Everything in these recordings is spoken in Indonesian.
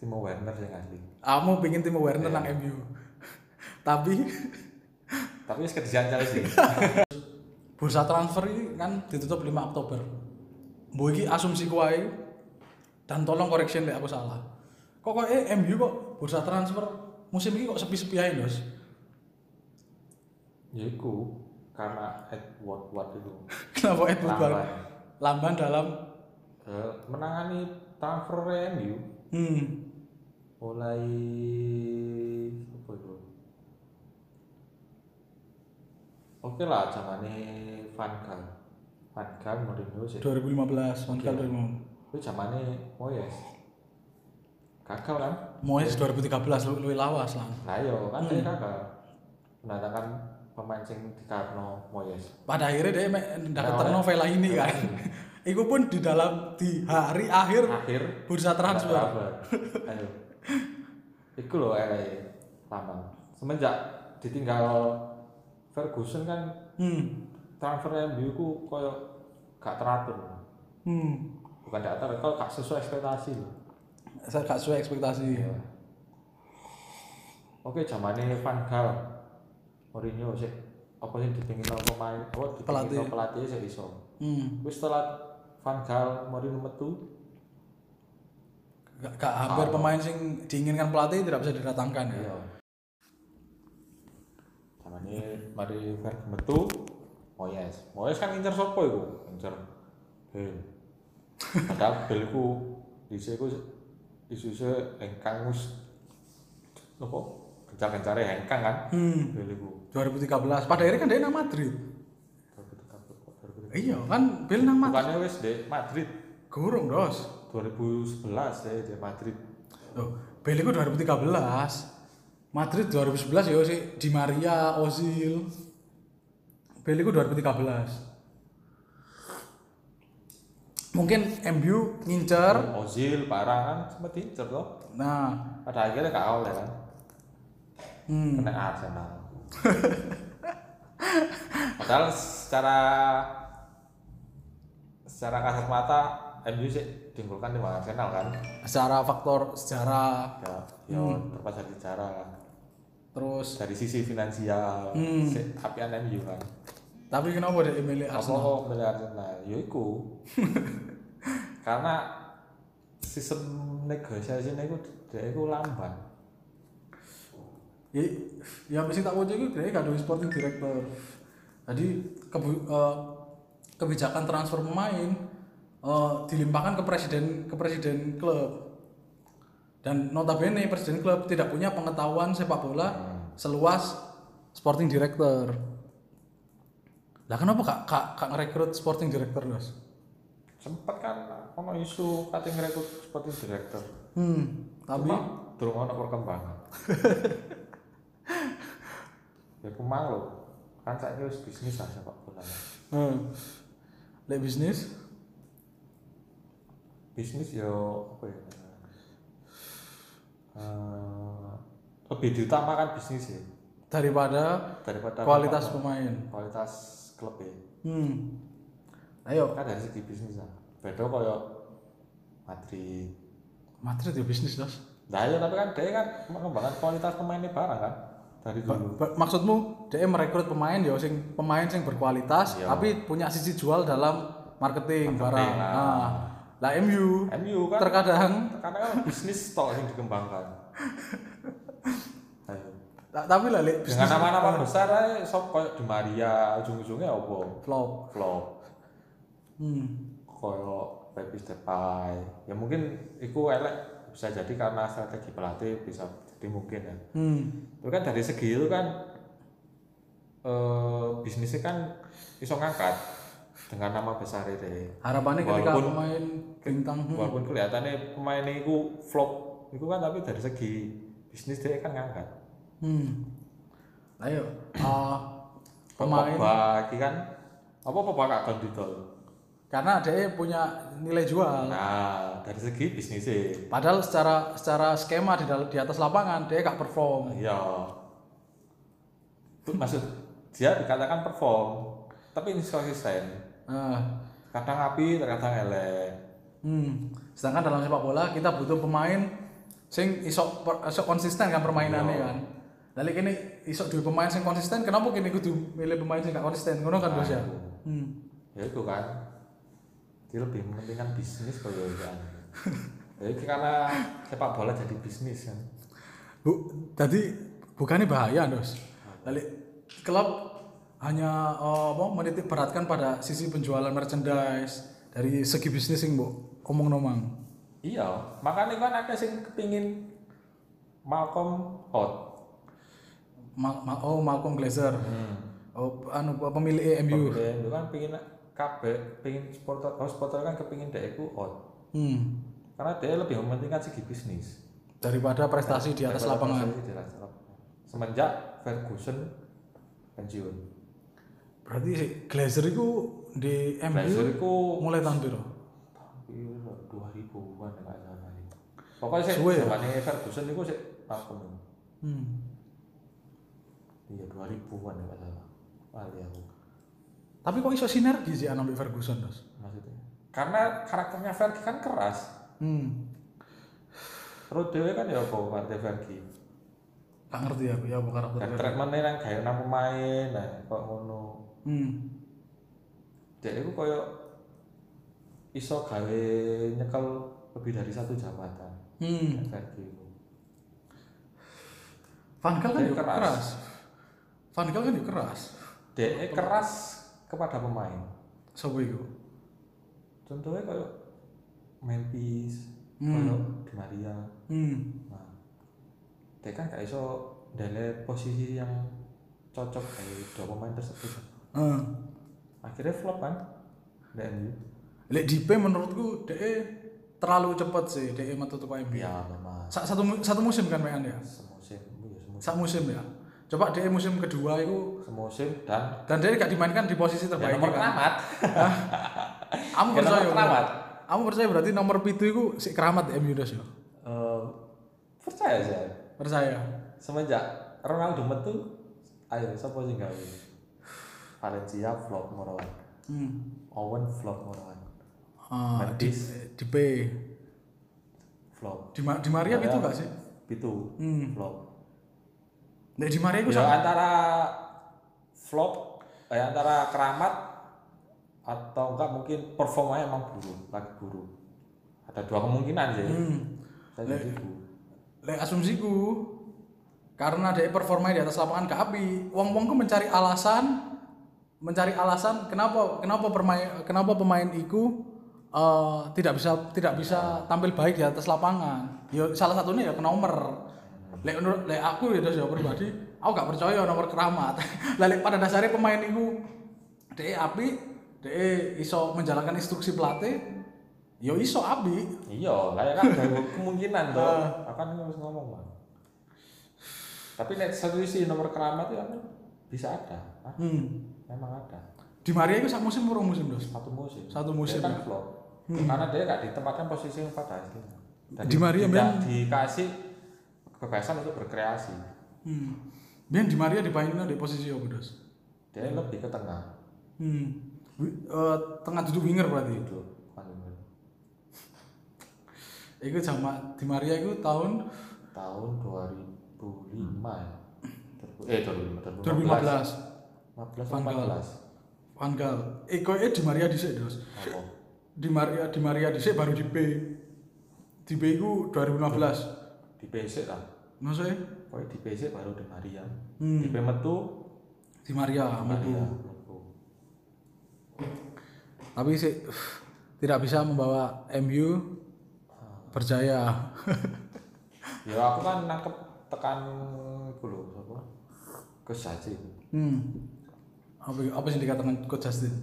Timo Werner yang asli Aku mau pingin Timo Werner nang MU. Tapi tapi wis kerjaan sih bursa transfer ini kan ditutup 5 Oktober. Mbok iki asumsi kuai dan tolong koreksi nek aku salah. Kok kok eh, MU kok bursa transfer musim ini kok sepi-sepi aja, Dos? yaiku Ya karena Edward Ward itu Kenapa Edward Lamban. Bar- Lamban dalam eh, menangani transfer MU hmm, mulai apa itu oke lah zamane Van Gaal Van Gaal Mourinho sih 2015, Mondial 2015. itu zamane Moyes gagal kan Moyes 2013 lu- luwih lawas lah. nah yo kan dia gagal mendatangkan pemain sing dikarno Moyes Pada akhirnya dia ndak keterno Vela ini kan. Iku pun di dalam di hari akhir akhir bursa transfer. kabar. ayo iku loh LA Lampang semenjak ditinggal Ferguson kan Hmm. transfer MU ku koyo gak teratur Hmm. bukan gak teratur kalau gak sesuai ekspektasi lho. Saya gak sesuai ekspektasi. oke zamane Van Gaal Mourinho sih apa sih dipingin sama pemain apa dipingin sama pelatih sih iso Hmm. wis setelah Van Gaal Mourinho metu Gak, gak hampir pemain sing diinginkan pelatih tidak bisa didatangkan ya. iya zamane mari Ferguson metu Moyes Moyes kan ngincer sopo iku ngincer Bale padahal Bale ku dhisik ku isuse engkang wis apa gencar-gencare hengkang kan Hmm. Bale ku 2013. Pada akhirnya kan dia nang Madrid. Iya kan, Bill nang Madrid. bukannya wis di Madrid Gurung dos. 2011 deh di Madrid Loh, Bill itu 2013. Madrid 2011 ya sih, Di Maria, Ozil. Bill itu 2013. Mungkin MU ngincer. Ozil parah kan sempat diincer loh Nah, pada akhirnya gak oleh kan hmm. kena Arsenal padahal secara secara kasat mata MU sih diunggulkan di Arsenal kan secara faktor sejarah ya ya Hmm. terpaksa sejarah lah. terus dari sisi finansial Hmm. sih apian MU kan tapi kenapa dia milih apa Arsenal? kok milih Arsenal ya iku karena sistem negosiasi itu dia itu lamban Ya, ya mesti tak wajah itu dia gak ada sporting director. Jadi kebu- eh, kebijakan transfer pemain eh, dilimpahkan ke presiden ke presiden klub. Dan notabene presiden klub tidak punya pengetahuan sepak bola seluas sporting director. Lah kenapa kak kak, kak ngerekrut sporting director Dos? sempat kan ono isu katanya ngerekrut sporting director Hmm, tapi Cuma durung ono perkembangan. ya aku malu. Kan saiki wis bisnis lah sepak bola. Hmm. Lek bisnis? Bisnis ya apa ya? Eh, lebih diutamakan bisnis ya daripada daripada kualitas performa- pemain. kualitas klub ya. Hmm. Ayo, Kan dari segi bisnis lah. Beda koyo Madrid. Madrid ya bisnis dos. Nah ya tapi kan dia kan mengembangkan kualitas pemainnya barang kan dari Ba- dulu. ba- Maksudmu dia merekrut pemain ya sing pemain sing berkualitas Iya. tapi punya sisi jual dalam marketing, barang. lah. Nah, lah MU MU kan terkadang karena kan bisnis tok yang dikembangkan Ayo. ta- tapi lah lek dengan bisnis nama-nama besar aja sok koyo di Maria ujung-ujungnya apa flop. flop Hmm. koyo Pepis Depay ya mungkin itu elek bisa jadi karena strategi pelatih bisa jadi mungkin ya Hmm. itu kan dari segi itu kan eh, bisnisnya kan iso ngangkat dengan nama besar itu Harapannya ketika Walaupun- pemain bintang hmm. walaupun kelihatannya pemain itu flop itu kan tapi dari segi bisnis dia kan ngangkat Hmm. Ayo, ah, pemain pemain Pogba iki kan apa Pogba gak kon didol. karena dia punya nilai jual. Nah, dari segi bisnisnya Padahal secara secara skema di dal- di atas lapangan dia gak perform. ya itu maksud dia dikatakan perform tapi inkonsisten. Nah, Kadang api, kadang elek. hmm. Sedangkan dalam sepak bola kita butuh pemain sing iso per- iso konsisten kan permainannya Iya. kan. Lalu kini iso dua pemain sing konsisten, kenapa kini kudu milih pemain sing gak konsisten? Ngono kan Nah, bos ya. itu. Hmm. ya itu kan dia lebih mementingkan bisnis kalau ya ya itu karena sepak bola jadi bisnis kan Bu, tadi bukannya bahaya dos. Lalu klub hanya eh, apa menitik beratkan pada sisi penjualan merchandise dari segi bisnis sing bu omong nomang. iya makanya kan ada yang kepingin Malcolm hot Ma- ma- oh Malcolm Glazer. Hmm. Oh, anu pemilik MU. Pemain itu kan pingin kabeh pingin supporter oh supporter kan kepingin dia itu hot Hmm. karena dia lebih mementingkan segi bisnis Daripada prestasi di atas Daripada lapangan. prestasi di atas lapangan. semenjak Ferguson pensiun Berarti si Glazer itu di MU Blazer itu mulai tahun piro? dua ribuan nggak salah itu pokoknya sih Suwe ya? zamannya Ferguson itu sih Malcolm itu. Hmm. Iya dua ribuan ya nggak salah. Kali aku Tapi kok iso sinergi sih anak Ferguson terus? maksudnya. Karena karakternya Fergie kan keras. Hmm. Terus dewe kan ya kok partai Fergie. Gak ngerti aku ya apa karakter. Dan Fergie. treatmentnya yang gaya nang pemain, nah kok ngono. Hmm. Dia itu koyo iso gawe nyekel lebih dari satu jabatan. Hmm. Kayak gitu. Fergie itu. Van Gaal kan Dia juga keras. keras. Van Gaal kan juga keras. Dia eh, keras kepada pemain. Sopo iku? Contohnya koyo Memphis, Hmm. koyo Di Maria. Hmm. Nah, dia kan gak iso ndelek posisi yang cocok dari dua pemain tersebut. Eh. Akhirnya flop kan? Di MU. Lek Dipe menurutku DE terlalu cepat sih DE menutup MU. Ya memang Sa- Satu, mu- satu musim kan mainan ya? semusim, ya semusim, Satu musim ya. Coba DE musim kedua itu semusim dan dan DE gak dimainkan di posisi ya, terbaik kan? nomor keramat. Kamu Ya, percaya? nomor Bro? keramat. Kamu percaya berarti nomor pitu itu si keramat MU das ya? Eh, percaya saya. Percaya. Semenjak Ronaldo metu, ayo siapa sih gawe? Valencia flop moroan, Hmm. Owen flop moroan, Ah, di, Mendes. di B. flop. Di, Ma- di Maria Maria. itu gak sih? Pitu Hmm. flop. Nek di Maria itu Ya sama. antara flop, eh, antara keramat atau enggak mungkin performanya emang buruk, lagi buruk. Ada dua kemungkinan sih. Hmm. Saya jadi buruk. Lek asumsiku karena DE performanya di atas lapangan gak api, wong-wong ku mencari alasan mencari alasan kenapa kenapa permain kenapa pemain iku eh, tidak bisa tidak bisa tampil baik di atas lapangan. Ya salah satunya ya ke nomor. Lek menurut lek aku ya Dos, ya pribadi, aku gak percaya nomor keramat. Lah lek pada dasarnya pemain iku DE api, DE iso menjalankan instruksi pelatih, yo iso api. Iya, lah ya kan ada kemungkinan toh. Ah. Akan harus ngomong bang. Tapi lihat solusi nomor keramat itu kan bisa ada. Ah, Hmm. memang ada. Di Maria itu sak musim murung musim dos. Satu musim. Satu musim, Dia kan ya. flop. Karena dia nggak ditempatkan posisi yang pada aslinya. Dan Di Maria, tidak men. dikasih kebebasan untuk berkreasi. Hmm. Biar di Maria dipainin di posisi apa dos? Dia lebih ke tengah. Hmm. Wi- eh, tengah duduk winger berarti. Itu bukan winger. Iku sama di Maria itu tahun tahun 2005 ya. Terbu- Eh 2015. 2015. 15 Van Gaal. 14. Van Gaal. Iku eh di Maria dhisik dos. Apa? Di Maria di Maria dhisik baru di B. Di B itu 2015. Di PC lah. Maksudnya? Pokoknya di PC baru di Maria. Hmm. Di P metu Iya, Di Maria Maria. mlebu. Tapi sih tidak bisa membawa MU berjaya. Ya aku kan nangkep tekan iku lho sapa? Coach Haji. hmm. Apa, apa yang dikatakan Coach Justin?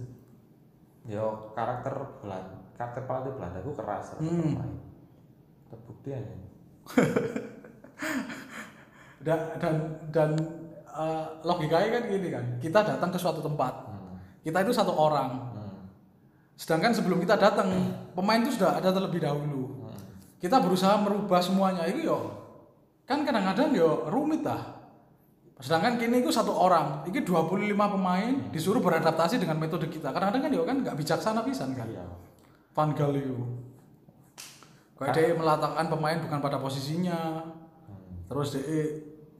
Ya karakter Belanda, karakter pelatih Belanda aku keras terhadap Hmm. pemain. Terbukti ya, aja. dan dan, dan eh, logikanya kan gini kan kita datang ke suatu tempat Hmm. kita itu satu orang Hmm. sedangkan sebelum kita datang pemain itu sudah ada terlebih dahulu Hmm. kita berusaha merubah semuanya itu yo kan kadang-kadang yo rumit lah sedangkan kini itu satu orang ini 25 pemain Hmm. disuruh beradaptasi dengan metode kita kadang-kadang kan yo kan nggak bijaksana pisan kan Iya. Van Gaal itu Nah. Kayak dia meletakkan pemain bukan pada posisinya. Hmm, Terus dia eh,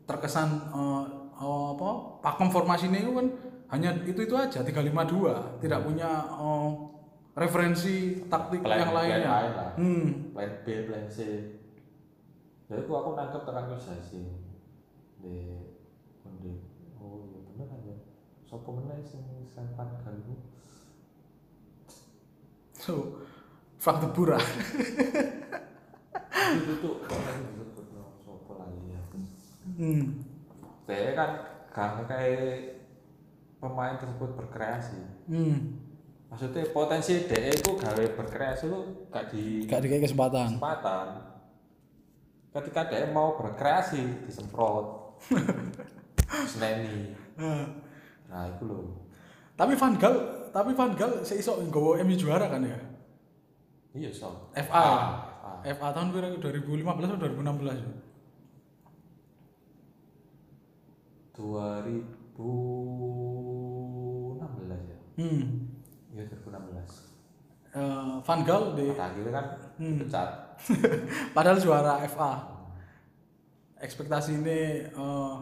terkesan eh, eh, apa? Pakem formasi ini kan hanya itu itu aja 352, tidak punya eh, referensi taktik Plan- yang plan lainnya. lain lah. Hmm. plan B plan C jadi aku aku nangkep tekan wis sih di kondi oh iya bener aja sopo meneh sing sempat ganggu So, Frank de Boer, ah. itu tuh orang disebut no sopo lagi ya Hmm. saya kan karena kayak pemain tersebut berkreasi Hmm. maksudnya potensi DE itu gawe berkreasi itu gak di Gak dikasih kesempatan. kesempatan ketika dia mau berkreasi disemprot seneni Eh, nah itu loh tapi Van Gaal, tapi Van Gaal seiso nggawa MU juara kan ya? Iya, so. FA. FA tahun kira 2015 atau 2016 ya? 2016 ya. Hmm. Iya, 2016. Eh, Van Gaal di Pada akhirnya kan dipecat. padahal juara FA. Ekspektasi ini eh,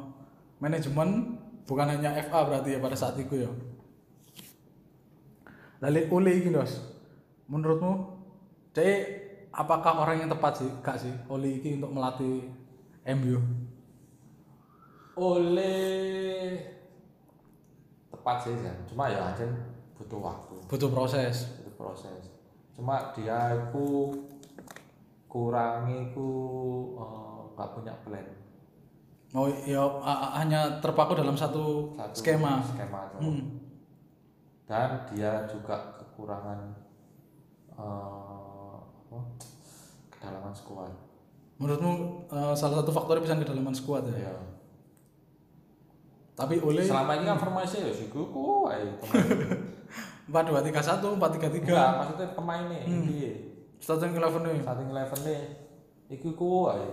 manajemen bukan hanya FA berarti ya pada saat itu ya. Lalu Ole ini Dos, menurutmu dia apakah orang yang tepat sih kak sih Ole ini untuk melatih MU? Oleh tepat sih kan. Cuma ya aja butuh waktu, Butuh proses. butuh proses. Cuma dia itu kurangi ku eh, nggak punya plan Oh ya a- a- hanya terpaku dalam satu, Satu skema. skema doang. Hmm. dan dia juga kekurangan eh, apa? kedalaman skuad Menurutmu eh, salah satu faktornya bisa kedalaman skuad ya? ya. Tapi oleh selama ini kan formasi ya sih kuku ayo pemain 4231, 433, enggak maksudnya pemainnya iya. ini starting eleven ya. starting eleven nih iku kuku ayo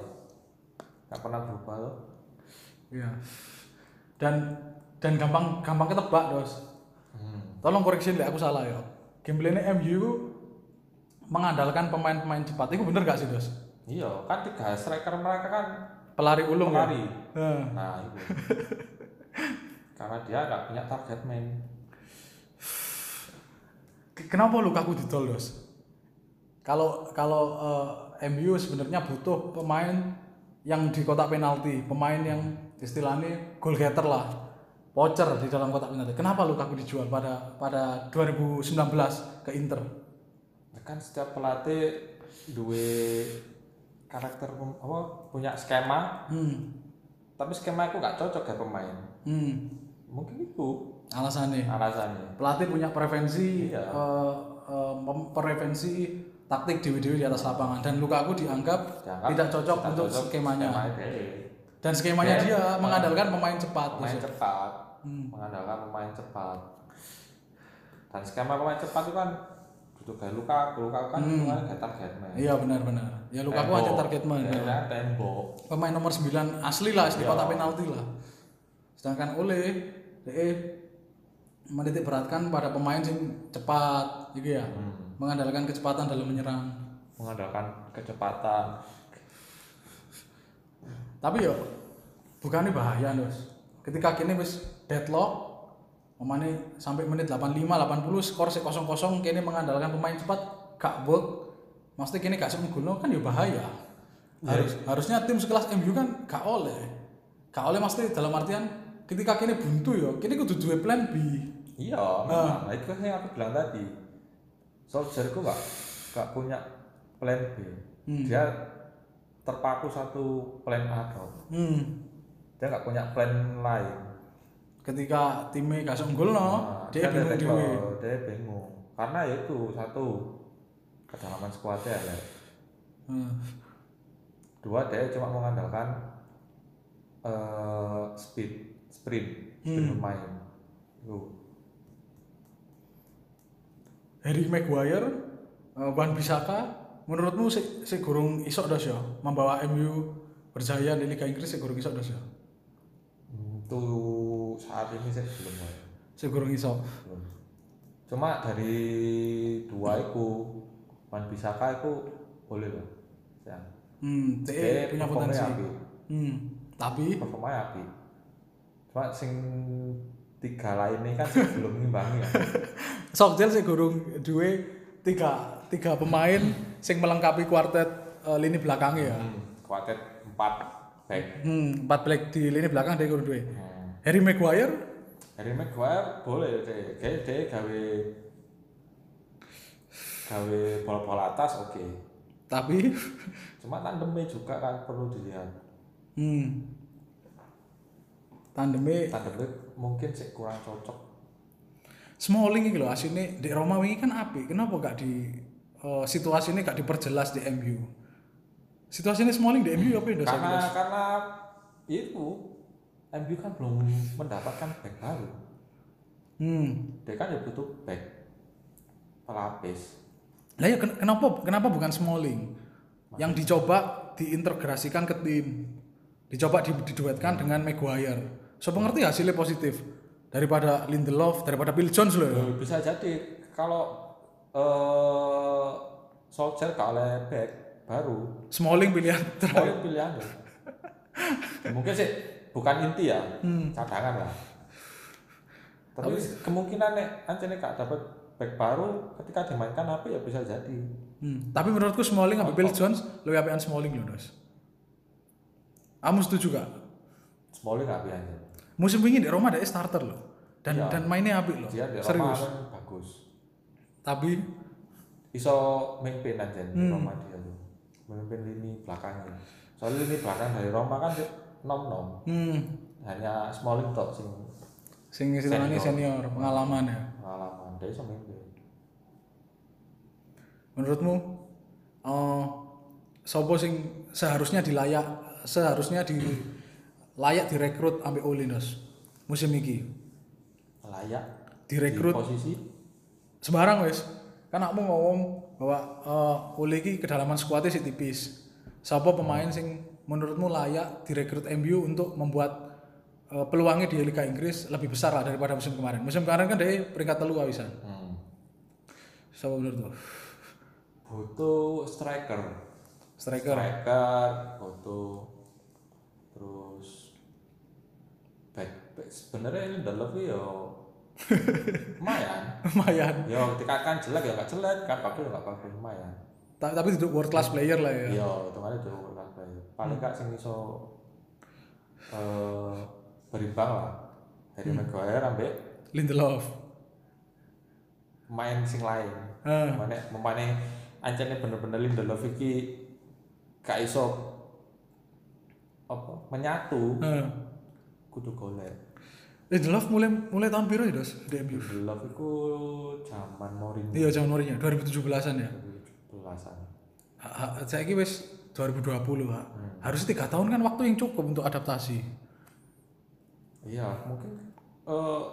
nggak pernah berubah loh Iya. Dan dan gampang gampang ketebak, Dos. hmm. Tolong koreksi lek aku salah ya. Gameplaynya MU ku mengandalkan pemain-pemain cepat. Itu bener gak sih, Dos? iya kan tiga striker mereka kan Pelari ulung ya. pelari Nah, nah itu karena dia nggak punya target man ke- kenapa Lukaku didol, Dos? Kalau kalau eh, MU sebenarnya butuh pemain yang di kotak penalti, pemain yang istilahnya goal getter lah. Pocher di dalam kotak penalti. Kenapa Lukaku dijual pada pada 2019 ke Inter? kan setiap pelatih duwe karakter pem- apa punya skema Hmm. tapi skema itu nggak cocok ya pemain Hmm. mungkin itu Alasannya alasannya pelatih punya preferensi Iya. eh, eh, mem- preferensi taktik dewi-dewi di atas lapangan dan Lukaku dianggap Dianggap tidak cocok tidak untuk cocok skemanya skema DE. dan skemanya Dan, dia eh, mengandalkan pemain cepat pemain Gus. cepat Hmm. mengandalkan pemain cepat dan skema pemain cepat itu kan duduk kayak luka luka kan Hmm. hmm. kayak target man Iya benar-benar. Ya Lukaku Tembok. aja target man. Ya, ya, tembok Pemain nomor 9 asli lah di Iya. kotak penalti lah. Sedangkan oleh DE menitik beratkan pada pemain yang cepat gitu ya. Hmm. Mengandalkan kecepatan dalam menyerang. mengandalkan kecepatan tapi yo bukannya bahaya Dos ketika kini wis deadlock omane sampai menit 85 80 skor sik 0-0 kini mengandalkan pemain cepat gak work maksudnya kini gak semguno kan yo bahaya harus harusnya tim sekelas MU kan gak oleh gak oleh maksudnya dalam artian ketika kini buntu yo kini kudu duwe plan B iya Ah. memang nah, itu kan yang aku bilang tadi Solskjaer itu nggak nggak punya plan B Hmm. dia terpaku satu plan A doang hmm. dia nggak punya plan lain ketika timnya gak semguno Nah, Ah, dia bingung detek dhewe loh, dia bingung karena ya itu satu kedalaman skuadnya elek. Hmm. dua dia cuma mengandalkan eh, speed sprint sprint Hmm. pemain Tuh. Harry Maguire, eh, Wan Bisaka, menurutmu si, si gurung isok dos ya membawa MU berjaya di Liga Inggris si gurung isok dos ya? untuk saat ini saya belum main. Si gurung isok. Belum. Cuma dari dua itu Wan Bisaka itu boleh loh. Ya. Hmm, Dia DE punya potensi. Api. Hmm, tapi Performanya api. Cuma sing tiga lainnya kan sih belum ngimbangi ya. Sokjel sih gurung duwe tiga tiga pemain sing melengkapi kuartet eh, lini belakang ya. Hmm, kuartet empat back. Hmm, empat black di lini belakang dia gurung duwe. Hmm. Harry Maguire Harry Maguire Nah, boleh deh, kayak dia gawe gawe bola-bola atas oke. tapi Cuma tandemnya juga kan perlu dilihat. hmm tandemnya Tandemnya mungkin sih kurang cocok. Smalling iki lho asine di Roma wingi kan apik. Kenapa gak di eh, situasi ini gak diperjelas di MU? Situasi ini Smalling di MU apa ya, Indo karena Sokjel? karena itu MU kan belum mendapatkan back baru. Hmm. Dia kan ya butuh back pelapis. Lah ya ken- kenapa kenapa bukan Smalling? Yang dicoba diintegrasikan ke tim. Dicoba di- diduetkan dengan Maguire. So pengerti hasilnya positif daripada Lindelof, daripada Bill Jones loh. ya. Eh, Bisa jadi kalau eh Solskjaer gak oleh back baru, Smalling pilihan ter- Pokoknya pilihannya. iya, ya. Mungkin sih bukan inti ya, Hmm. cadangan lah. Tapi kemungkinan nek anjene gak dapat back baru ketika dimainkan apa ya bisa jadi. Hmm, Tapi menurutku Smalling sama Bill Jones lebih apian Smalling loh, Dos. Kamu setuju gak? Smalling gak biasa. Musim ini di Roma ada starter loh. Dan dan mainnya apik loh. Dia di Roma Serius. kan bagus. Tapi Iso memimpin anjen di Hmm. Roma dia tuh. Memimpin lini belakangnya. Soalnya lini belakang dari Roma kan nom-nom. hmm Hanya Smalling tok sing sing istilahnya senior, pengalaman ya. pengalaman dia iso memimpin. Menurutmu eh sopo sing seharusnya dilayak seharusnya di layak direkrut ambil Ole Dos musim ini Layak direkrut di posisi sembarang wes kan aku ngomong bahwa eh Ole iki kedalaman skuadnya sih tipis siapa pemain sing menurutmu layak direkrut MU untuk membuat eh, peluangnya di Liga Inggris lebih besar lah daripada musim kemarin musim kemarin kan dari peringkat telu awisan Hmm. siapa menurutmu butuh striker striker striker butuh terus back, back sebenarnya Lindelof ya lumayan lumayan ya dikatakan jelek ya gak jelek kan bagus ya gak bagus lumayan Ta- tapi itu world class player lah ya Hmm. ya hitungannya itu kan paling gak sing iso eh, berimbang lah Harry Hmm. Maguire ambek Lindelof main sing lain Eh, Mane memane ancane bener-bener Lindelof iki gak iso apa menyatu eh. kudu golek. Lindelof mulai mulai tahun biru ya dos di MU Lindelof iku zaman Mourinho iya jauh norinya 2017an ya 2017-an. saya kira wes 2020 pak Hmm. harusnya tiga tahun kan waktu yang cukup untuk adaptasi Iya, mungkin eh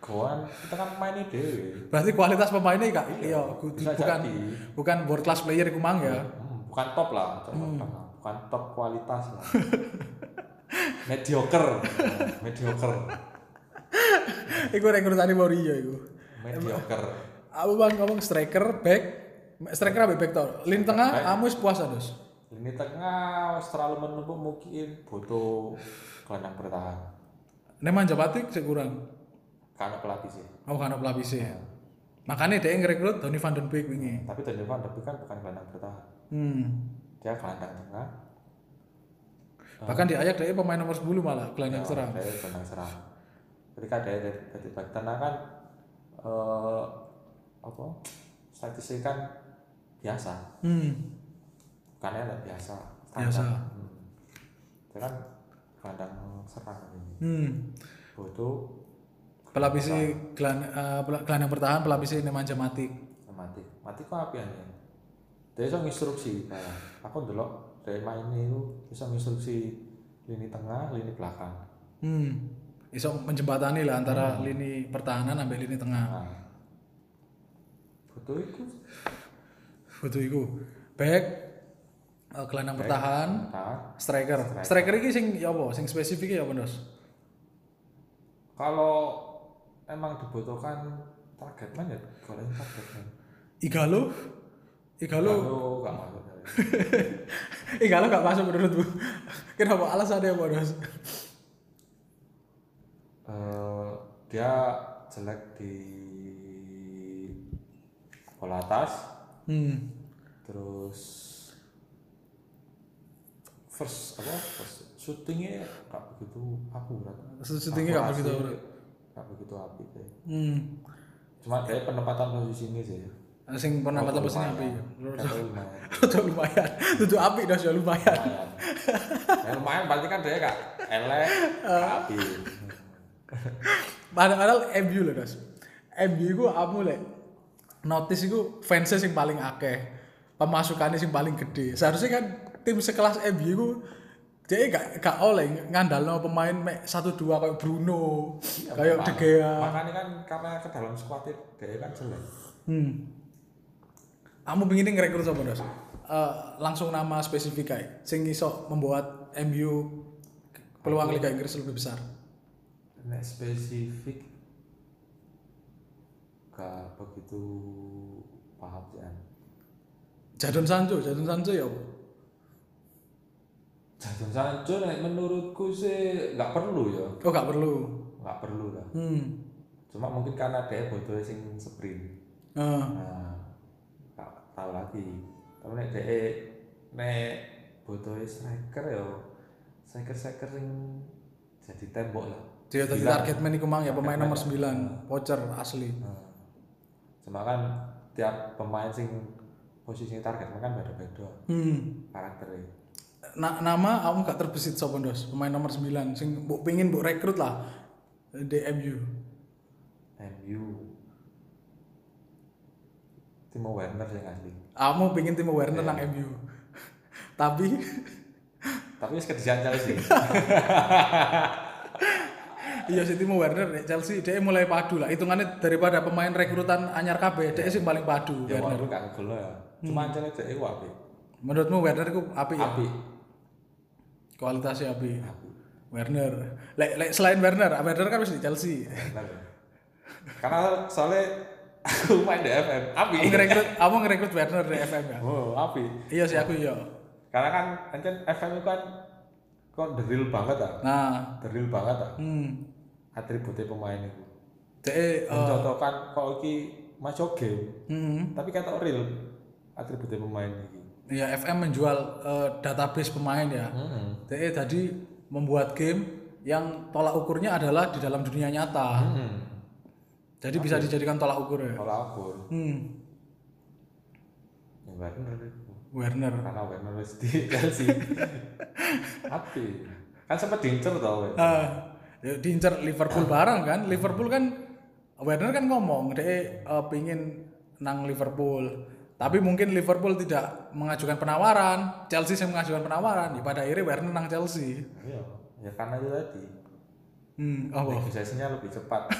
goan kita kan main dhewe. berarti kualitas pemainnya gak iya ku- bisa bukan jadi. bukan world class player iku mang ya Hmm, bukan top lah, coba lah. bukan top kualitas lah. mediocre, Nah, mediocre, iku rekrutane Mourinho iku mediocre. aku bang ngomong striker back striker apa back tau lini tengah Back. kamu wis puas dos Lini tengah wis terlalu menumpuk mungkin butuh gelandang bertahan. Neman Japatik sih kurang Karena pelatih sih. aku kan pelapisnya Hmm. makanya dia ngerekrut Donny van den Beek wingi Tapi Daniel Van de Beek kan bukan gelandang bertahan. hmm. Dia gelandang tengah. bahkan di Ajax dia pemain nomor 10 malah Ya. gelandang serang Dia gelandang serang. Ketika dia dari- dari back tengah kan eh apa? Statistik kan biasa. hmm. Bukan elek biasa. Standar. Biasa. Hmm. Dia kan gelandang serang ini. hmm. Butuh pelapisi gelan, eh, pel- gelandang bertahan pelapisi Neman Jamatik mati mati kok api aja dia bisa instruksi nah, aku ndelok dari main itu bisa instruksi lini tengah lini belakang Hmm. Iso menjembatani lah antara lini pertahanan sampai lini tengah. nah butuh itu Butuh iku. Back eh, gelandang pertahan, nah striker. Striker. Striker iki sing ya apa? Sing spesifik ya apa, Dos? kalau emang dibutuhkan target man ya goreng target man Igalo? Igalo Lalu gak masuk dari eh kalau nggak masuk menurutmu kenapa alasannya mau dos Eh, dia jelek di bola atas hmm terus first apa first syutingnya nggak begitu akurat Syutingnya nggak begitu Akurasi akurat. nggak begitu apik ya. hmm cuma dari penempatan posisi ini sih sing pernah kata pesen api ya? Lumayan. Kata lumayan Tuh lumayan, tuh api dos ya lumayan. lumayan Ya, lumayan berarti kan dia nggak elek Ah. nggak apik Padahal MU loh dos. MU itu apa lek? Notice itu fansnya sing paling akeh, pemasukannya sing paling gede. Seharusnya kan tim sekelas MU itu dia gak, gak oleh ngandalno pemain mek satu dua kayak Bruno, Iya, kayak De Gea. makanya kan karena ke dalam squad dia kan jelek Hmm. Kamu pengen ngerekrut siapa dos? Eh, langsung nama spesifik ae sing iso membuat MU peluang Liga Inggris lebih besar. Nek spesifik gak begitu paham sih An. Jadon Sancho, Jadon Sancho ya. apa? Jadon Sancho nek eh, menurutku sih nggak perlu ya Oh gak perlu. nggak perlu lah Hmm. cuma mungkin karena dia bodoh sing sprint Eh, nah nggak tahu lagi tapi nek dia nek bodoh striker ya striker striker sing jadi tembok lah dia tadi Sembilan. target man iku mang ya pemain Target nomor man. 9, voucher asli. Nah, cuma kan tiap pemain sing posisinya target kan beda-beda Hmm. karakternya Na- nama kamu gak terbesit sapa Ndos? Pemain nomor 9 sing mbok pengin mbok rekrut lah di MU. MU Timo Werner sih asli Kamu pengin Timo Werner nang MU. Tapi tapi wis kerjaan Chelsea iya si Timo Werner nek Chelsea dia mulai padu lah. Hitungannya daripada pemain rekrutan anyar KB, dia sing paling padu ya Werner. walaupun gak ngegol ya cuma ancane dek iku api Menurutmu Werner ku apik ya? api Kualitasnya apik. api Werner. Lek lek selain Werner, Werner kan wis di Chelsea. Werner karena soalnya aku main di FM api Kamu ngerekrut, kamu ngerekrut Werner di FM ya? oh api Iya sih aku iya. karena kan ancen FM itu kan kok the real banget ah Nah, the real banget ah hmm, atributnya pemain itu de, mencontohkan kok iki masuk game hmm, tapi kata real atributnya pemain ini ya FM menjual eh, database pemain ya. Heeh. De tadi membuat game yang tolak ukurnya adalah di dalam dunia nyata. Heeh. Jadi bisa dijadikan tolak ukur ya. kalau abur Hmm, ya Werner Werner. karena Werner wis di Chelsea tapi kan sempat diincer tau Werner. Eh, ya diincer Liverpool bareng kan? Liverpool kan Werner kan ngomong de pingin nang Liverpool. Tapi mungkin Liverpool tidak mengajukan penawaran, Chelsea yang mengajukan penawaran. Ya, pada akhirnya Werner nang Chelsea. iya ya karena itu tadi Hmm, apa? negosiasinya lebih cepat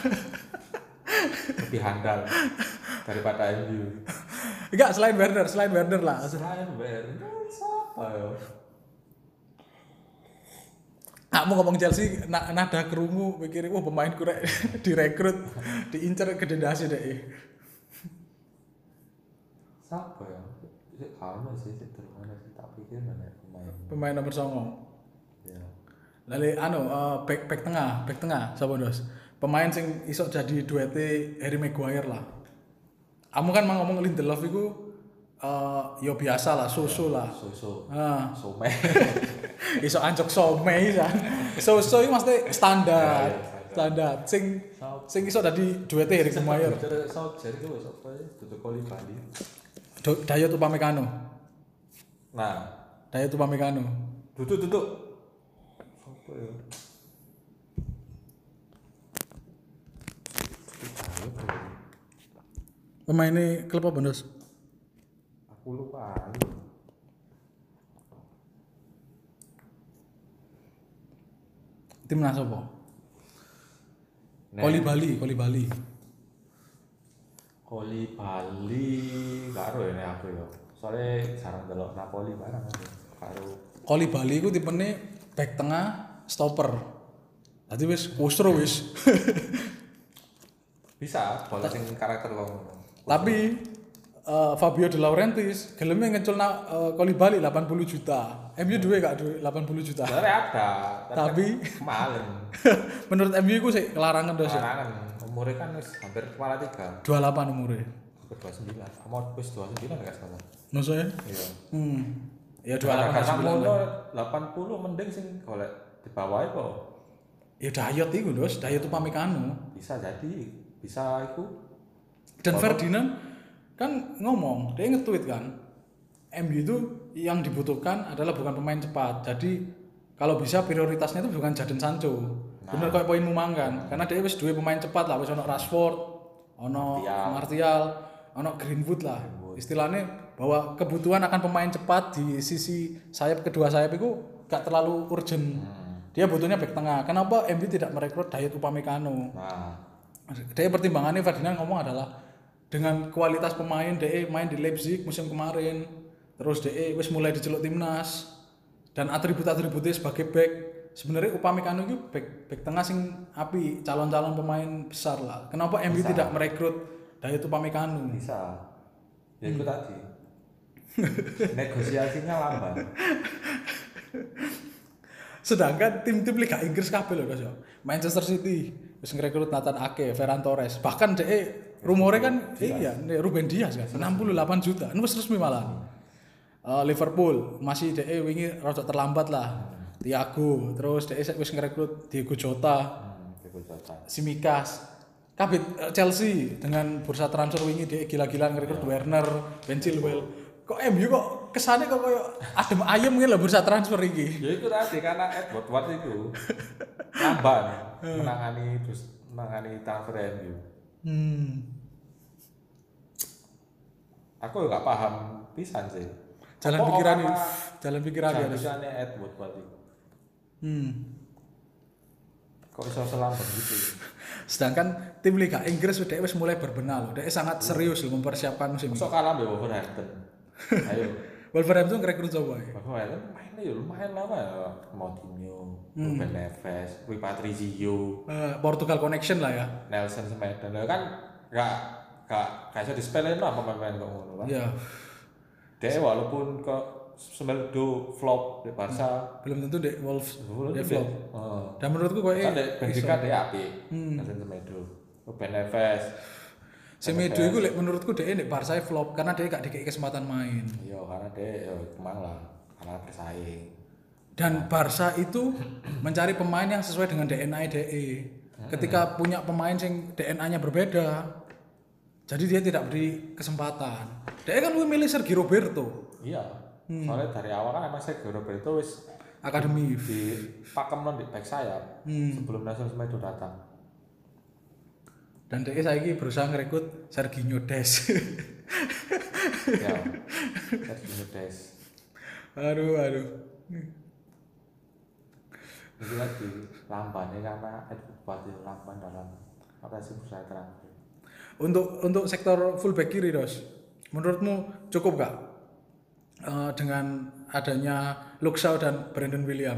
lebih handal daripada MU Enggak, selain Werner, selain Werner lah. selain Werner ya. siapa ya Kamu Nah, ngomong Chelsea, na- nada kerungu, mikirin, wah pemain kurek direkrut, diincer gedendasi deh. siapa ya Ya, karena sih sih terus mana sih tak pikir mana pemain Pemain nomor songo. ya Lalu anu, eh, back, back tengah, back tengah, siapa dos? Pemain sing isok jadi duete Harry Maguire lah. Kamu kan mau ngomong Lindelof itu, eh, ya biasa lah, susu lah. Soso Ah. Some iso anjok somei kan. So-so iki mesti Ya, standar. ya, standar. Sing Sop. sing iso dadi duwete Erik Mayer. Sojer itu wes apa ya tutup koli Bali Do- Dayot Upamecano. nah Dayot Upamecano. duduk duduk apa ya Pemainnya klub apa, Ndos? aku lupa Timnas apa? Koli Bali, Koli Bali. koli Bali gak ero ya nek aku ya soalnya jarang delok Napoli barang aku karo Koli Bali iku tipene back tengah, stopper. Tadi wis kusro wis. bisa bola sing karakter wong Tapi eh eh, Fabio De Laurentiis geleme ngeculna eh, Koulibaly 80 juta. MU duwe gak duwe 80 juta. Sebenarnya ada, Tapi- kan mahal. Menurut MU iku sik kelarangan terus. ya. Kalangan umurnya kan wis hampir kepala tiga, 28 umure. hampir dua sembilan. Kamu wis dua sembilan nggak sama? Maksudnya? Iya. Hmm. Ya Kata 28 mono 29. delapan puluh mending sing golek di bawah itu Ya Dayot iku, Dos. Dayot Upamecano. bisa jadi bisa itu Dan Ferdinand kan ngomong, dia nge-tweet kan. MU itu yang dibutuhkan adalah bukan pemain cepat. Jadi kalau bisa prioritasnya itu bukan Jadon Sancho. Bener kayak poinmu mang kan. Karena dia wis dua pemain cepat lah, wis ono Rashford, ono Martial. Martial, ono Greenwood lah. Istilahnya bahwa kebutuhan akan pemain cepat di sisi sayap kedua sayap itu gak terlalu urgent. Hmm. Dia butuhnya back tengah. Kenapa MU tidak merekrut Dayot Upamecano? nah Dia pertimbangannya Ferdinand ngomong adalah dengan kualitas pemain DE main di Leipzig musim kemarin, terus DE wis mulai diceluk timnas dan atribut-atributnya sebagai back sebenarnya Upamecano itu back, back tengah sing api calon-calon pemain besar lah. Kenapa MU tidak merekrut Dayot Upamecano? bisa ya itu tadi negosiasinya lambat Sedangkan tim-tim Liga Inggris kabeh loh Guys, ya. Manchester City wis ngerekrut Nathan Ake, Ferran Torres, bahkan DE rumornya kan iya Ruben Dias kan 68 juta. Ini wis resmi malah. Eh, Liverpool masih DE wingi rada terlambat lah. Thiago, terus DE sek wis ngerekrut Diego Jota, hmm, itu jatah Simikas. Kabit eh, Chelsea dengan bursa transfer wingi DE gila-gilaan ngerekrut Werner, Ben Chilwell. Kok MU kok kesannya kok kayak adem ayem gitu lah bursa transfer iki. ya itu tadi karena Edward Ward itu lambat menangani terus menangani transfer MU Hmm. aku nggak paham pisan sih jalan Apa pikiran orang- ya jalan pikiran ya Jangan pisannya Edward Ward itu hmm. kok bisa selambat gitu sedangkan tim Liga Inggris sudah wis mulai berbenah loh dia sangat serius loh mempersiapkan musim ini Sok kalah mbak Wolverhampton ayo Wolverhampton ngerekrut coba ya Wolverhampton mainnya ya lumayan lama ya Moutinho Hmm. Ruben Neves Rui Patricio Eh, Portugal connection lah ya Nelson Semedo Lah kan gak gak gak bisa dispelin lah pemain-pemain kok ngono lah ya Iya. dia walaupun ke Semedo flop di Barca belum tentu dek Wolves dulu dek dia flop Heeh. dan menurutku kok Hmm. kan di eh Benfica dia api Nelson Semedo Ruben Neves Semedo itu lek menurutku dek dek Barca flop karena dia gak dikasih kesempatan main iya karena dia ya kemang lah karena bersaing dan Barca itu mencari pemain yang sesuai dengan DNA DE. E. Ketika punya pemain yang DNA-nya berbeda, jadi dia tidak beri kesempatan. DE kan lebih milih Sergio Roberto, iya Hmm. soalnya dari awal kan emang Sergio Roberto wis akademi. di pakem non di back sayap Hmm. sebelum Nelson Semedo datang Dan DE saiki berusaha ngerekrut Sergio Des. ya Sergio Des aduh, aduh. itu lagi lambannya karena Edward Ward itu lamban dalam operasi bursa transfer Untuk untuk sektor fullback kiri, Dos. Menurutmu cukup gak? Eh, dengan adanya Luxau dan Brandon William.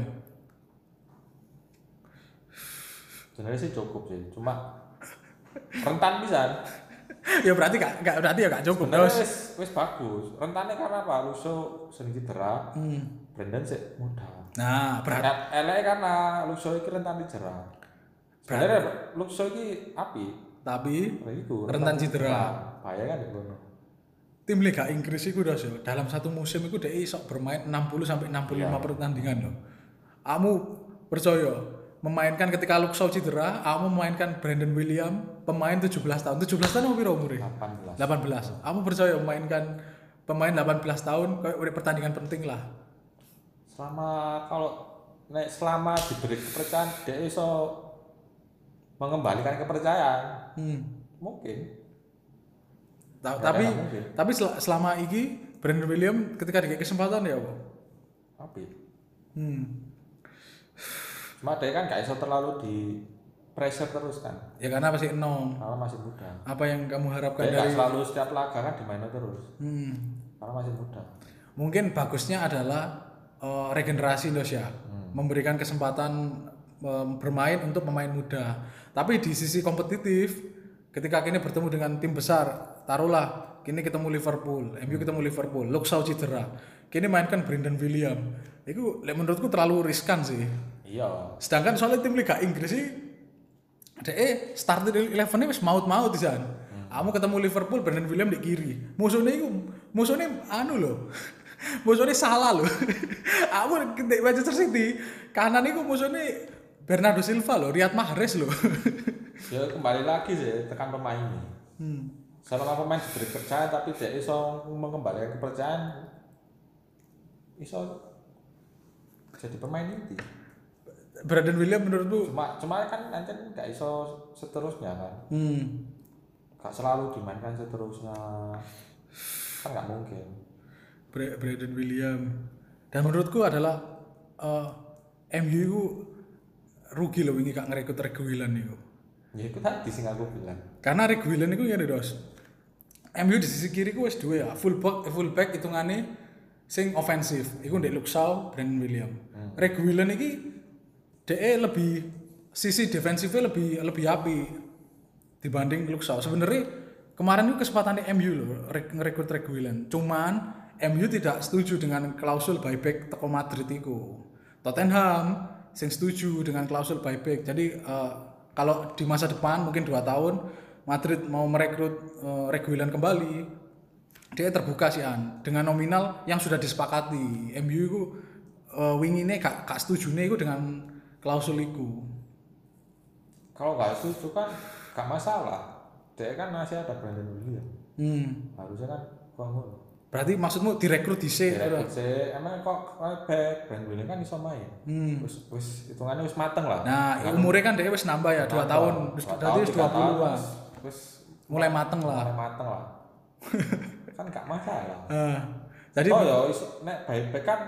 sebenarnya sih cukup sih cuma rentan bisa ya berarti gak, gak- berarti ya gak cukup, sebenarnya Dos. wis wis bagus rentannya karena apa Luso sering cedera Hmm. Brandon sih muda Nah, berarti Nah, elek karena Luso ini rentan cedera sebenarnya Luso ini api tapi nah, itu rentan cedera. bahaya kan ya Bono? Tim Liga Inggris itu udah sih, dalam satu musim itu dia sok bermain 60 sampai 65 Iya. pertandingan loh. Kamu percaya memainkan ketika Luxau cedera, kamu memainkan Brandon William, pemain 17 tahun. 17 tahun apa piro umure? 18 18. Kamu percaya memainkan pemain 18 tahun kayak udah pertandingan penting lah. selama kalau nek selama diberi kepercayaan dia iso mengembalikan kepercayaan Hmm. mungkin Gak Ta- tapi ada yang mungkin. tapi sel- selama ini Brandon William ketika dikasih kesempatan ya, Bo? tapi Hmm. cuma dia kan gak iso terlalu di pressure terus kan Ya karena masih enom. karena masih muda Apa yang kamu harapkan dia gak dari selalu setiap laga kan dimainin terus Hmm. karena masih muda mungkin bagusnya adalah eh, regenerasi Dos ya memberikan kesempatan eh, bermain untuk pemain muda tapi di sisi kompetitif ketika akhirnya bertemu dengan tim besar taruhlah kini ketemu Liverpool, MU ketemu Liverpool, Luxau cedera. Kini mainkan Brendan William. Itu lek menurutku terlalu riskan sih. iya Sedangkan soalnya tim Liga Inggris sih DE starter eleven-nya wis maut-maut di sana. Kamu ketemu Liverpool Brendan William di kiri. Musuhnya itu musuhnya anu loh. musuhnya salah loh. Kamu ketik Manchester City kanan itu musuhnya Bernardo Silva loh, Riyad Mahrez loh. ya kembali lagi sih tekan pemain ini hmm. selama pemain diberi percaya tapi dia iso mengembalikan kepercayaan iso jadi pemain inti Brendan William menurutku cuma cuma kan nanti nggak iso seterusnya kan hmm. nggak selalu dimainkan seterusnya kan nggak mungkin Bre- Brandon William dan menurutku adalah eh, MU itu rugi loh ini gak ngerekrut Reguilan itu ya itu tadi sing aku bilang karena Reguilan itu yang dos MU di sisi kiri ku wis dua ya fullback fullback hitungannya sing ofensif itu ndek Luxau Brandon William Reguilan ini DE lebih sisi defensifnya lebih lebih api dibanding Luxau sebenarnya kemarin itu kesempatan MU loh re- ngerekrut Reguilan cuman MU tidak setuju dengan klausul buyback teko Madrid itu Tottenham sing setuju dengan klausul buyback jadi eh, kalau di masa depan mungkin dua tahun Madrid mau merekrut eh, Reguilan kembali dia terbuka sih an dengan nominal yang sudah disepakati MU itu eh, wingine gak, gak setujune itu dengan klausul itu kalau nggak setuju kan nggak masalah dia kan masih ada Brandon William hmm. harusnya kan bangun berarti maksudmu direkrut dhisik ya ora? saya emang kok right back Brandon William kan iso main hmm. wis wis hitungannya wis mateng lah Nah, umurnya kan dia wis nambah ya, 2 tahun. Terus berarti wis 20-an. wis Mulai mateng lah. mulai mateng lah kan nggak masalah Eh, jadi oh ya iso nek buyback kan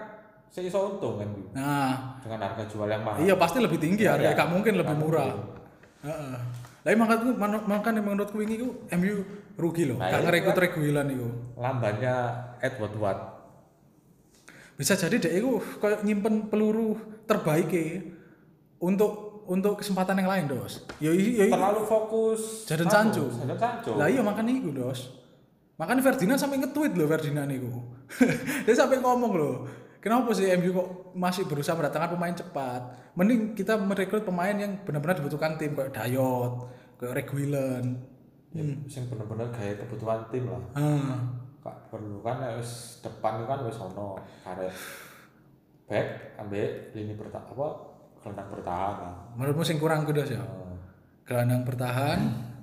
saya iso untung kan nah, dengan harga jual yang mahal iya pasti lebih tinggi harganya, Iya. gak mungkin lebih Nggak murah. mungkin. Heeh. Lah makanya makanya menurutku ini ku MU rugi loh, Nah, gak iya, ngerekrut Reguilan itu. lambannya Edward Watt Bisa jadi dia itu kayak nyimpen peluru terbaik untuk untuk kesempatan yang lain, Dos. Ya iya iya. terlalu fokus Jadon Sancho. Sancho. Jadon Sancho Lah iya makanya itu, Dos. Makanya Ferdinand sampai nge-tweet loh Ferdinand itu. Dia sampai ngomong loh, kenapa sih MU kok masih berusaha mendatangkan pemain cepat? Mending kita merekrut pemain yang benar-benar dibutuhkan tim kayak Dayot, kayak Reguilon. Ya, hmm. sing bener-bener gaya kebutuhan tim lah Ah, Kak perlu kan ya wis depan itu kan wis ono karet back ambek lini bertahan apa gelandang bertahan lah. menurutmu sing kurang kudos ya? Heeh. Gelandang bertahan,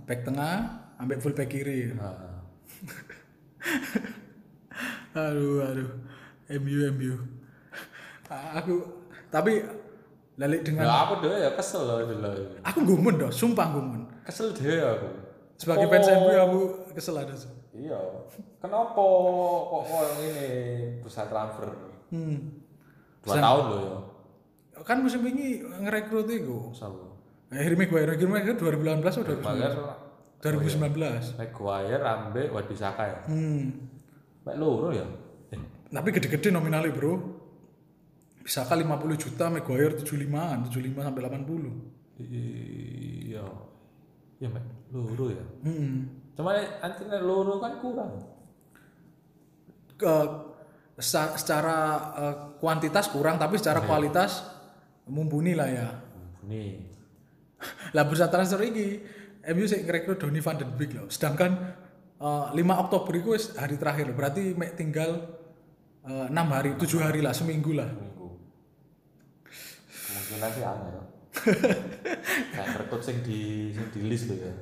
back tengah, ambek full back kiri. Heeh. Iya. aduh aduh MU MU A- aku tapi lali Ya dengan aku dhewe ya kesel loh itu loh. aku gumun dong sumpah gumun Kesel dhewe aku. sebagai Kok- fans MU aku kesel ada Iya. Kenapa kok orang ini bursa transfer? hmm. Dua tahun loh ya. kan musim ini ngerekrut itu Sama. Harry Maguire Harry Maguire 2018 atau 2019 Magar iya. 2019 Maguire ambek Wadisaka ya. hmm. Mek loro ya. tapi gede-gede nominalnya bro bisa kali 50 juta Maguire 75an 75 sampai 80 Iya. Ya mek loro ya. hmm. Cuma antine loro kan kurang. ke sa- secara eh, kuantitas kurang tapi secara kualitas mumpuni lah ya. Nih, Lah bursa transfer ini MU sik ngerekrut Donny van den Beek loh. Sedangkan eh, 5 Oktober itu wis hari terakhir loh. Berarti mek tinggal eh, 6 hari, 7 hari lah, seminggu lah. minggu. Kemungkinan sih angel. Kayak rekod sing di sing di list tuh ya.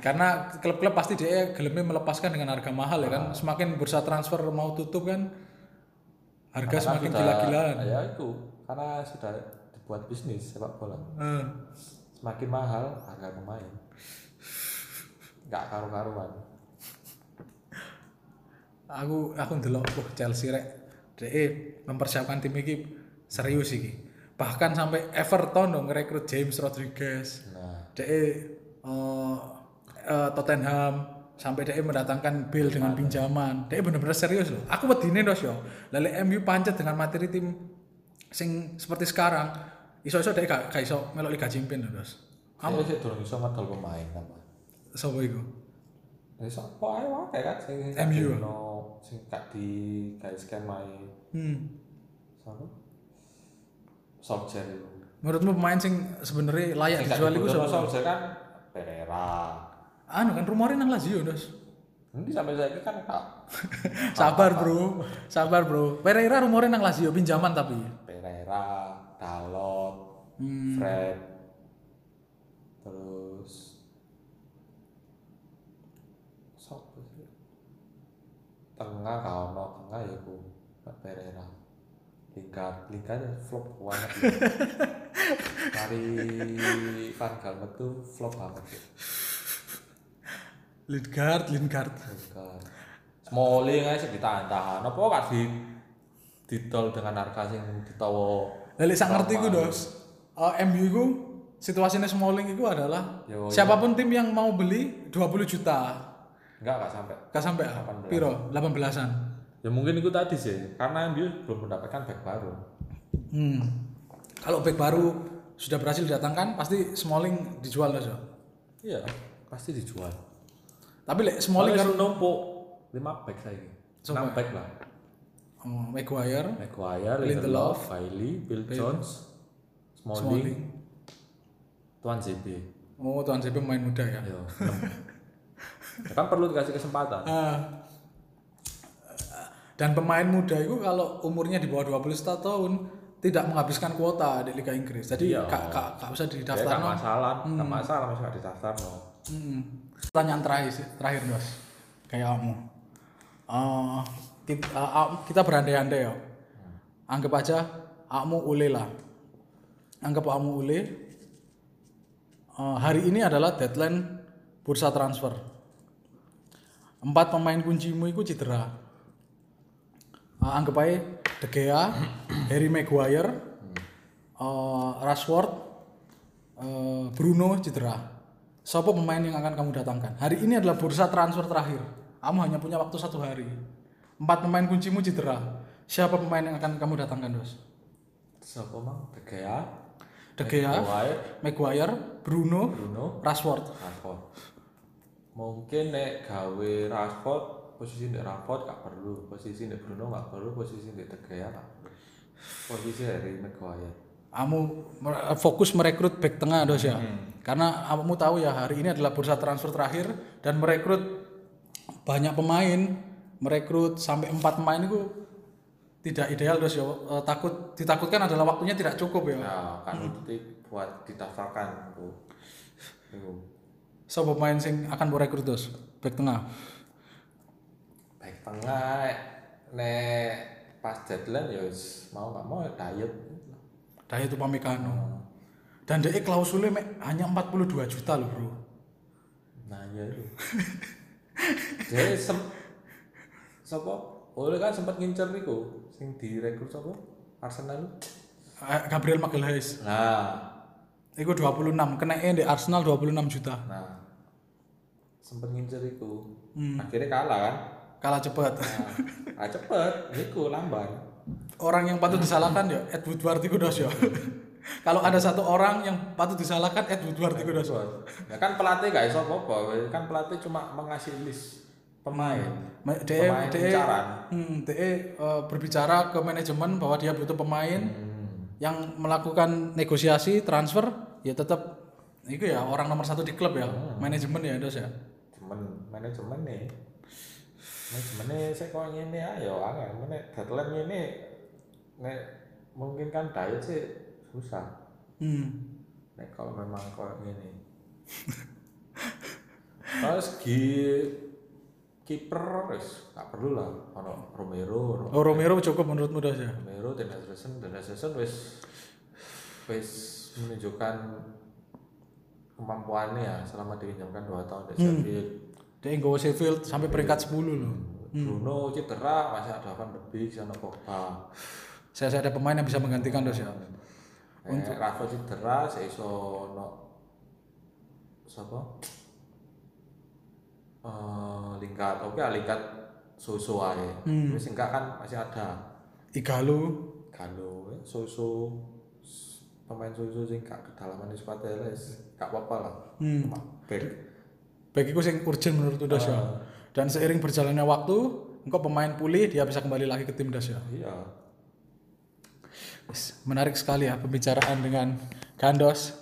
Karena klub-klub pasti dia gelemnya melepaskan dengan harga mahal ya kan. Ah. Semakin bursa transfer mau tutup kan harga Karena semakin sudah- gila-gilaan. Ya itu, karena sudah dibuat bisnis sepak bola. Eh, Semakin mahal harga pemain. Enggak karu-karuan. aku aku ndelok wah Chelsea rek DE mempersiapkan tim ini serius iki bahkan sampai Everton dong ngerekrut James Rodriguez Nah, DE eh, eh, Tottenham sampai DE mendatangkan Bill dengan pinjaman DE bener-bener serius loh aku wedine dos yo lalu MU pancet dengan materi tim sing seperti sekarang iso-iso DE gak, gak iso melok Liga Champions loh dos kamu sih durung iso ngedol pemain apa. sopo iku Ya sapa ae wae kan sing MU. no sing gak di gawe skema e. Hmm. Sapa? Solskjaer itu. Menurutmu pemain sing sebenarnya layak Sing gak dijual itu dibutuhno siapa? Solskjaer kan Pereira. Anu kan rumornya nang Lazio, Dos. Nanti sampai saiki kan gak Sabar, Bro. Sabar, Bro. Pereira rumornya nang Lazio pinjaman tapi. Pereira, Dalot, Hmm. Fred. Terus sapa sih? Tengah gak ono, tengah ya ku Pereira. Lingkar, lingkar flop banget. ya. Dari Van Gaal metu flop banget. ya. Lingard, Lingard. Lingkar. Smalling ae sing ditahan-tahan. Apa gak di didol dengan harga sing ditawa Lali sak ngerti ku, Dos. Eh, MU ku situasinya Smalling itu adalah Yo, iya. yo. siapapun tim yang mau beli 20 juta enggak gak sampai Gak sampai ah? 18. piro 18-an. Ya mungkin itu tadi sih, karena MU belum mendapatkan back baru. Hmm. Kalau back baru sudah berhasil didatangkan pasti Smalling dijual aja. Iya, pasti dijual. Tapi lek Mulai Smalling kan karo numpuk 5 back saya ini. 6 Coba. back lah. oh, Maguire, Maguire, Lindelof, Lindelof, Bailey, Bill Jones, Smalling, Smalling. Tuan ZB. Oh, Tuan CP pemain muda ya. Ayo, enam. Ya kan perlu dikasih kesempatan. Ah. dan pemain muda itu kalau umurnya di bawah 21 tahun tidak menghabiskan kuota di Liga Inggris. Jadi Iya. kak kak kak Ya usah gak didaftar. masalah, gak masalah masih gak didaftar no. Hmm. Pertanyaan terakhir sih- terakhir Dos. Kayak kamu. Eh, kita, eh, kita berandai-andai ya. Anggap aja kamu ule lah. Anggap kamu ule. Eh, hari ini adalah deadline bursa transfer. Empat pemain kuncimu itu cedera. Eh, anggap aja De Gea, Harry Maguire, eh, Rashford, eh, Bruno cedera. Siapa pemain yang akan kamu datangkan? Hari ini adalah bursa transfer terakhir. Kamu hanya punya waktu satu hari. Empat pemain kuncimu cedera. Siapa pemain yang akan kamu datangkan, Dos? Siapa mang? De Gea, De Gea, Maguire, Maguire, Bruno, Bruno, Rashford. Rashford. Mungkin nek gawe Rashford posisi nek Rashford gak perlu, posisi nek Bruno gak perlu, posisi nek De Gea gak perlu. Posisi dari Maguire. Kamu mer- fokus merekrut back tengah, Dos ya. Karena kamu tahu ya hari ini adalah bursa transfer terakhir dan merekrut banyak pemain, merekrut sampai empat pemain itu tidak ideal, Dos ya. Eh, Takut ditakutkan adalah waktunya tidak cukup ya. Nah, kan itu buat didaftarkan tuh. Tuh. Siapa pemain sing akan mbok rekrut dos? Back tengah. Baik tengah nek pas deadline ya wis mau gak mau diet. Daya itu Pamekano. Dan DE klausulnya mek hanya 42 juta loh, Bro. Nah, ya itu. Jadi sem sapa? Oleh kan sempat ngincer niku sing direkrut sapa? Arsenal. Eh, Gabriel Magalhaes. Nah, Iku 26, kena di Arsenal 26 juta. Nah, sempet ngincer itu. Akhirnya kalah kan? Kalah cepet. Nah, cepet, niku lamban. Orang yang patut disalahkan ya Ed Woodward iku dos ya. Kalau ada satu orang yang patut disalahkan Ed Woodward iku dos. Ya kan pelatih gak iso apa-apa, kan pelatih cuma mengasih list pemain. Ma- DE Pemain DE incaran. hmm, DE eh, berbicara ke manajemen bahwa dia butuh pemain Hmm. yang melakukan negosiasi transfer ya tetap itu ya orang nomor satu di klub ya Hmm. manajemen ya dos ya Cuman manajemen nih. Manajemennya saya kok ngene ayo angel, mana deadline ini nek mungkin kan diet sih susah. hmm. Nek kalau memang kok ngene. Terus gi kiper wis gak perlu lah ono Romero, oh, Romero cukup menurutmu dos ya Romero dan Henderson dan Henderson wis wis menunjukkan kemampuannya ya selama diinjamkan 2 tahun di Sheffield. dia nggak Sheffield sampai peringkat 10 loh Bruno cedera masih ada Van de Beek sana Pogba. saya, saya ada pemain yang bisa menggantikan dos ya Eh, Rafa cedera saya iso ono sapa? Eh, lingkat, oke lah, lingkat susu aja. Wis enggak kan masih ada. Igalo kalau susu ya, pemain susu sing gak kedalaman di squad Teles gak apa-apa lah hmm. back bagiku sing urgent menurut Dasya. Dan seiring berjalannya waktu, engkau pemain pulih dia bisa kembali lagi ke tim Dasya. Iya. Wis, Menarik sekali ya pembicaraan dengan Gandos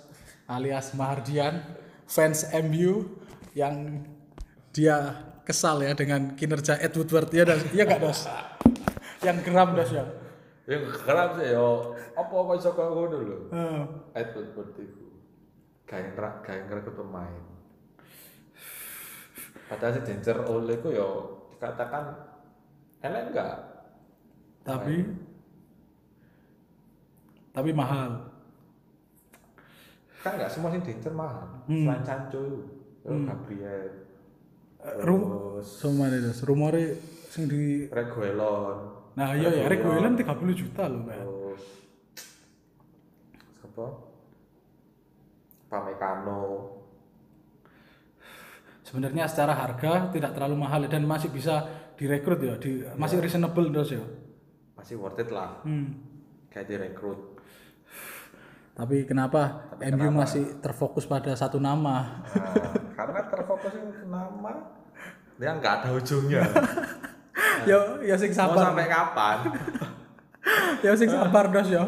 alias Mahardian, fans MU yang dia kesal ya dengan kinerja Ed Woodward ya Dos, iya gak Dos? yang geram Dos ya. Ya kerap sih yo. Apa kok iso koyo ngono lho? Eh, Ah. Edward Bertiku. Gaeng ra gaeng rekut pemain. Padahal si Danger Ole ku yo dikatakan elek enggak? tapi tapi mahal. Kan enggak semua sing Danger mahal. Selain Sancho itu. Yo Gabriel. Terus Sama nih Dos, rumore sing di Reguelon. Nah, iya ya, Reguilon 30 juta loh, Mbak. Terus siapa? Pamekano. Sebenarnya secara harga tidak terlalu mahal dan masih bisa direkrut ya, di, masih reasonable Dos ya. Masih worth it lah. Hmm. Kayak direkrut. Tapi kenapa MU masih terfokus pada satu nama? Nah, karena terfokus ke nama dia nggak ada ujungnya yo yo sing mau sabar. sampai kapan Yo sing sabar dos yo.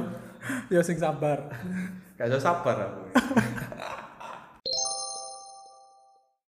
Yo sing sabar. gak usah sabar aku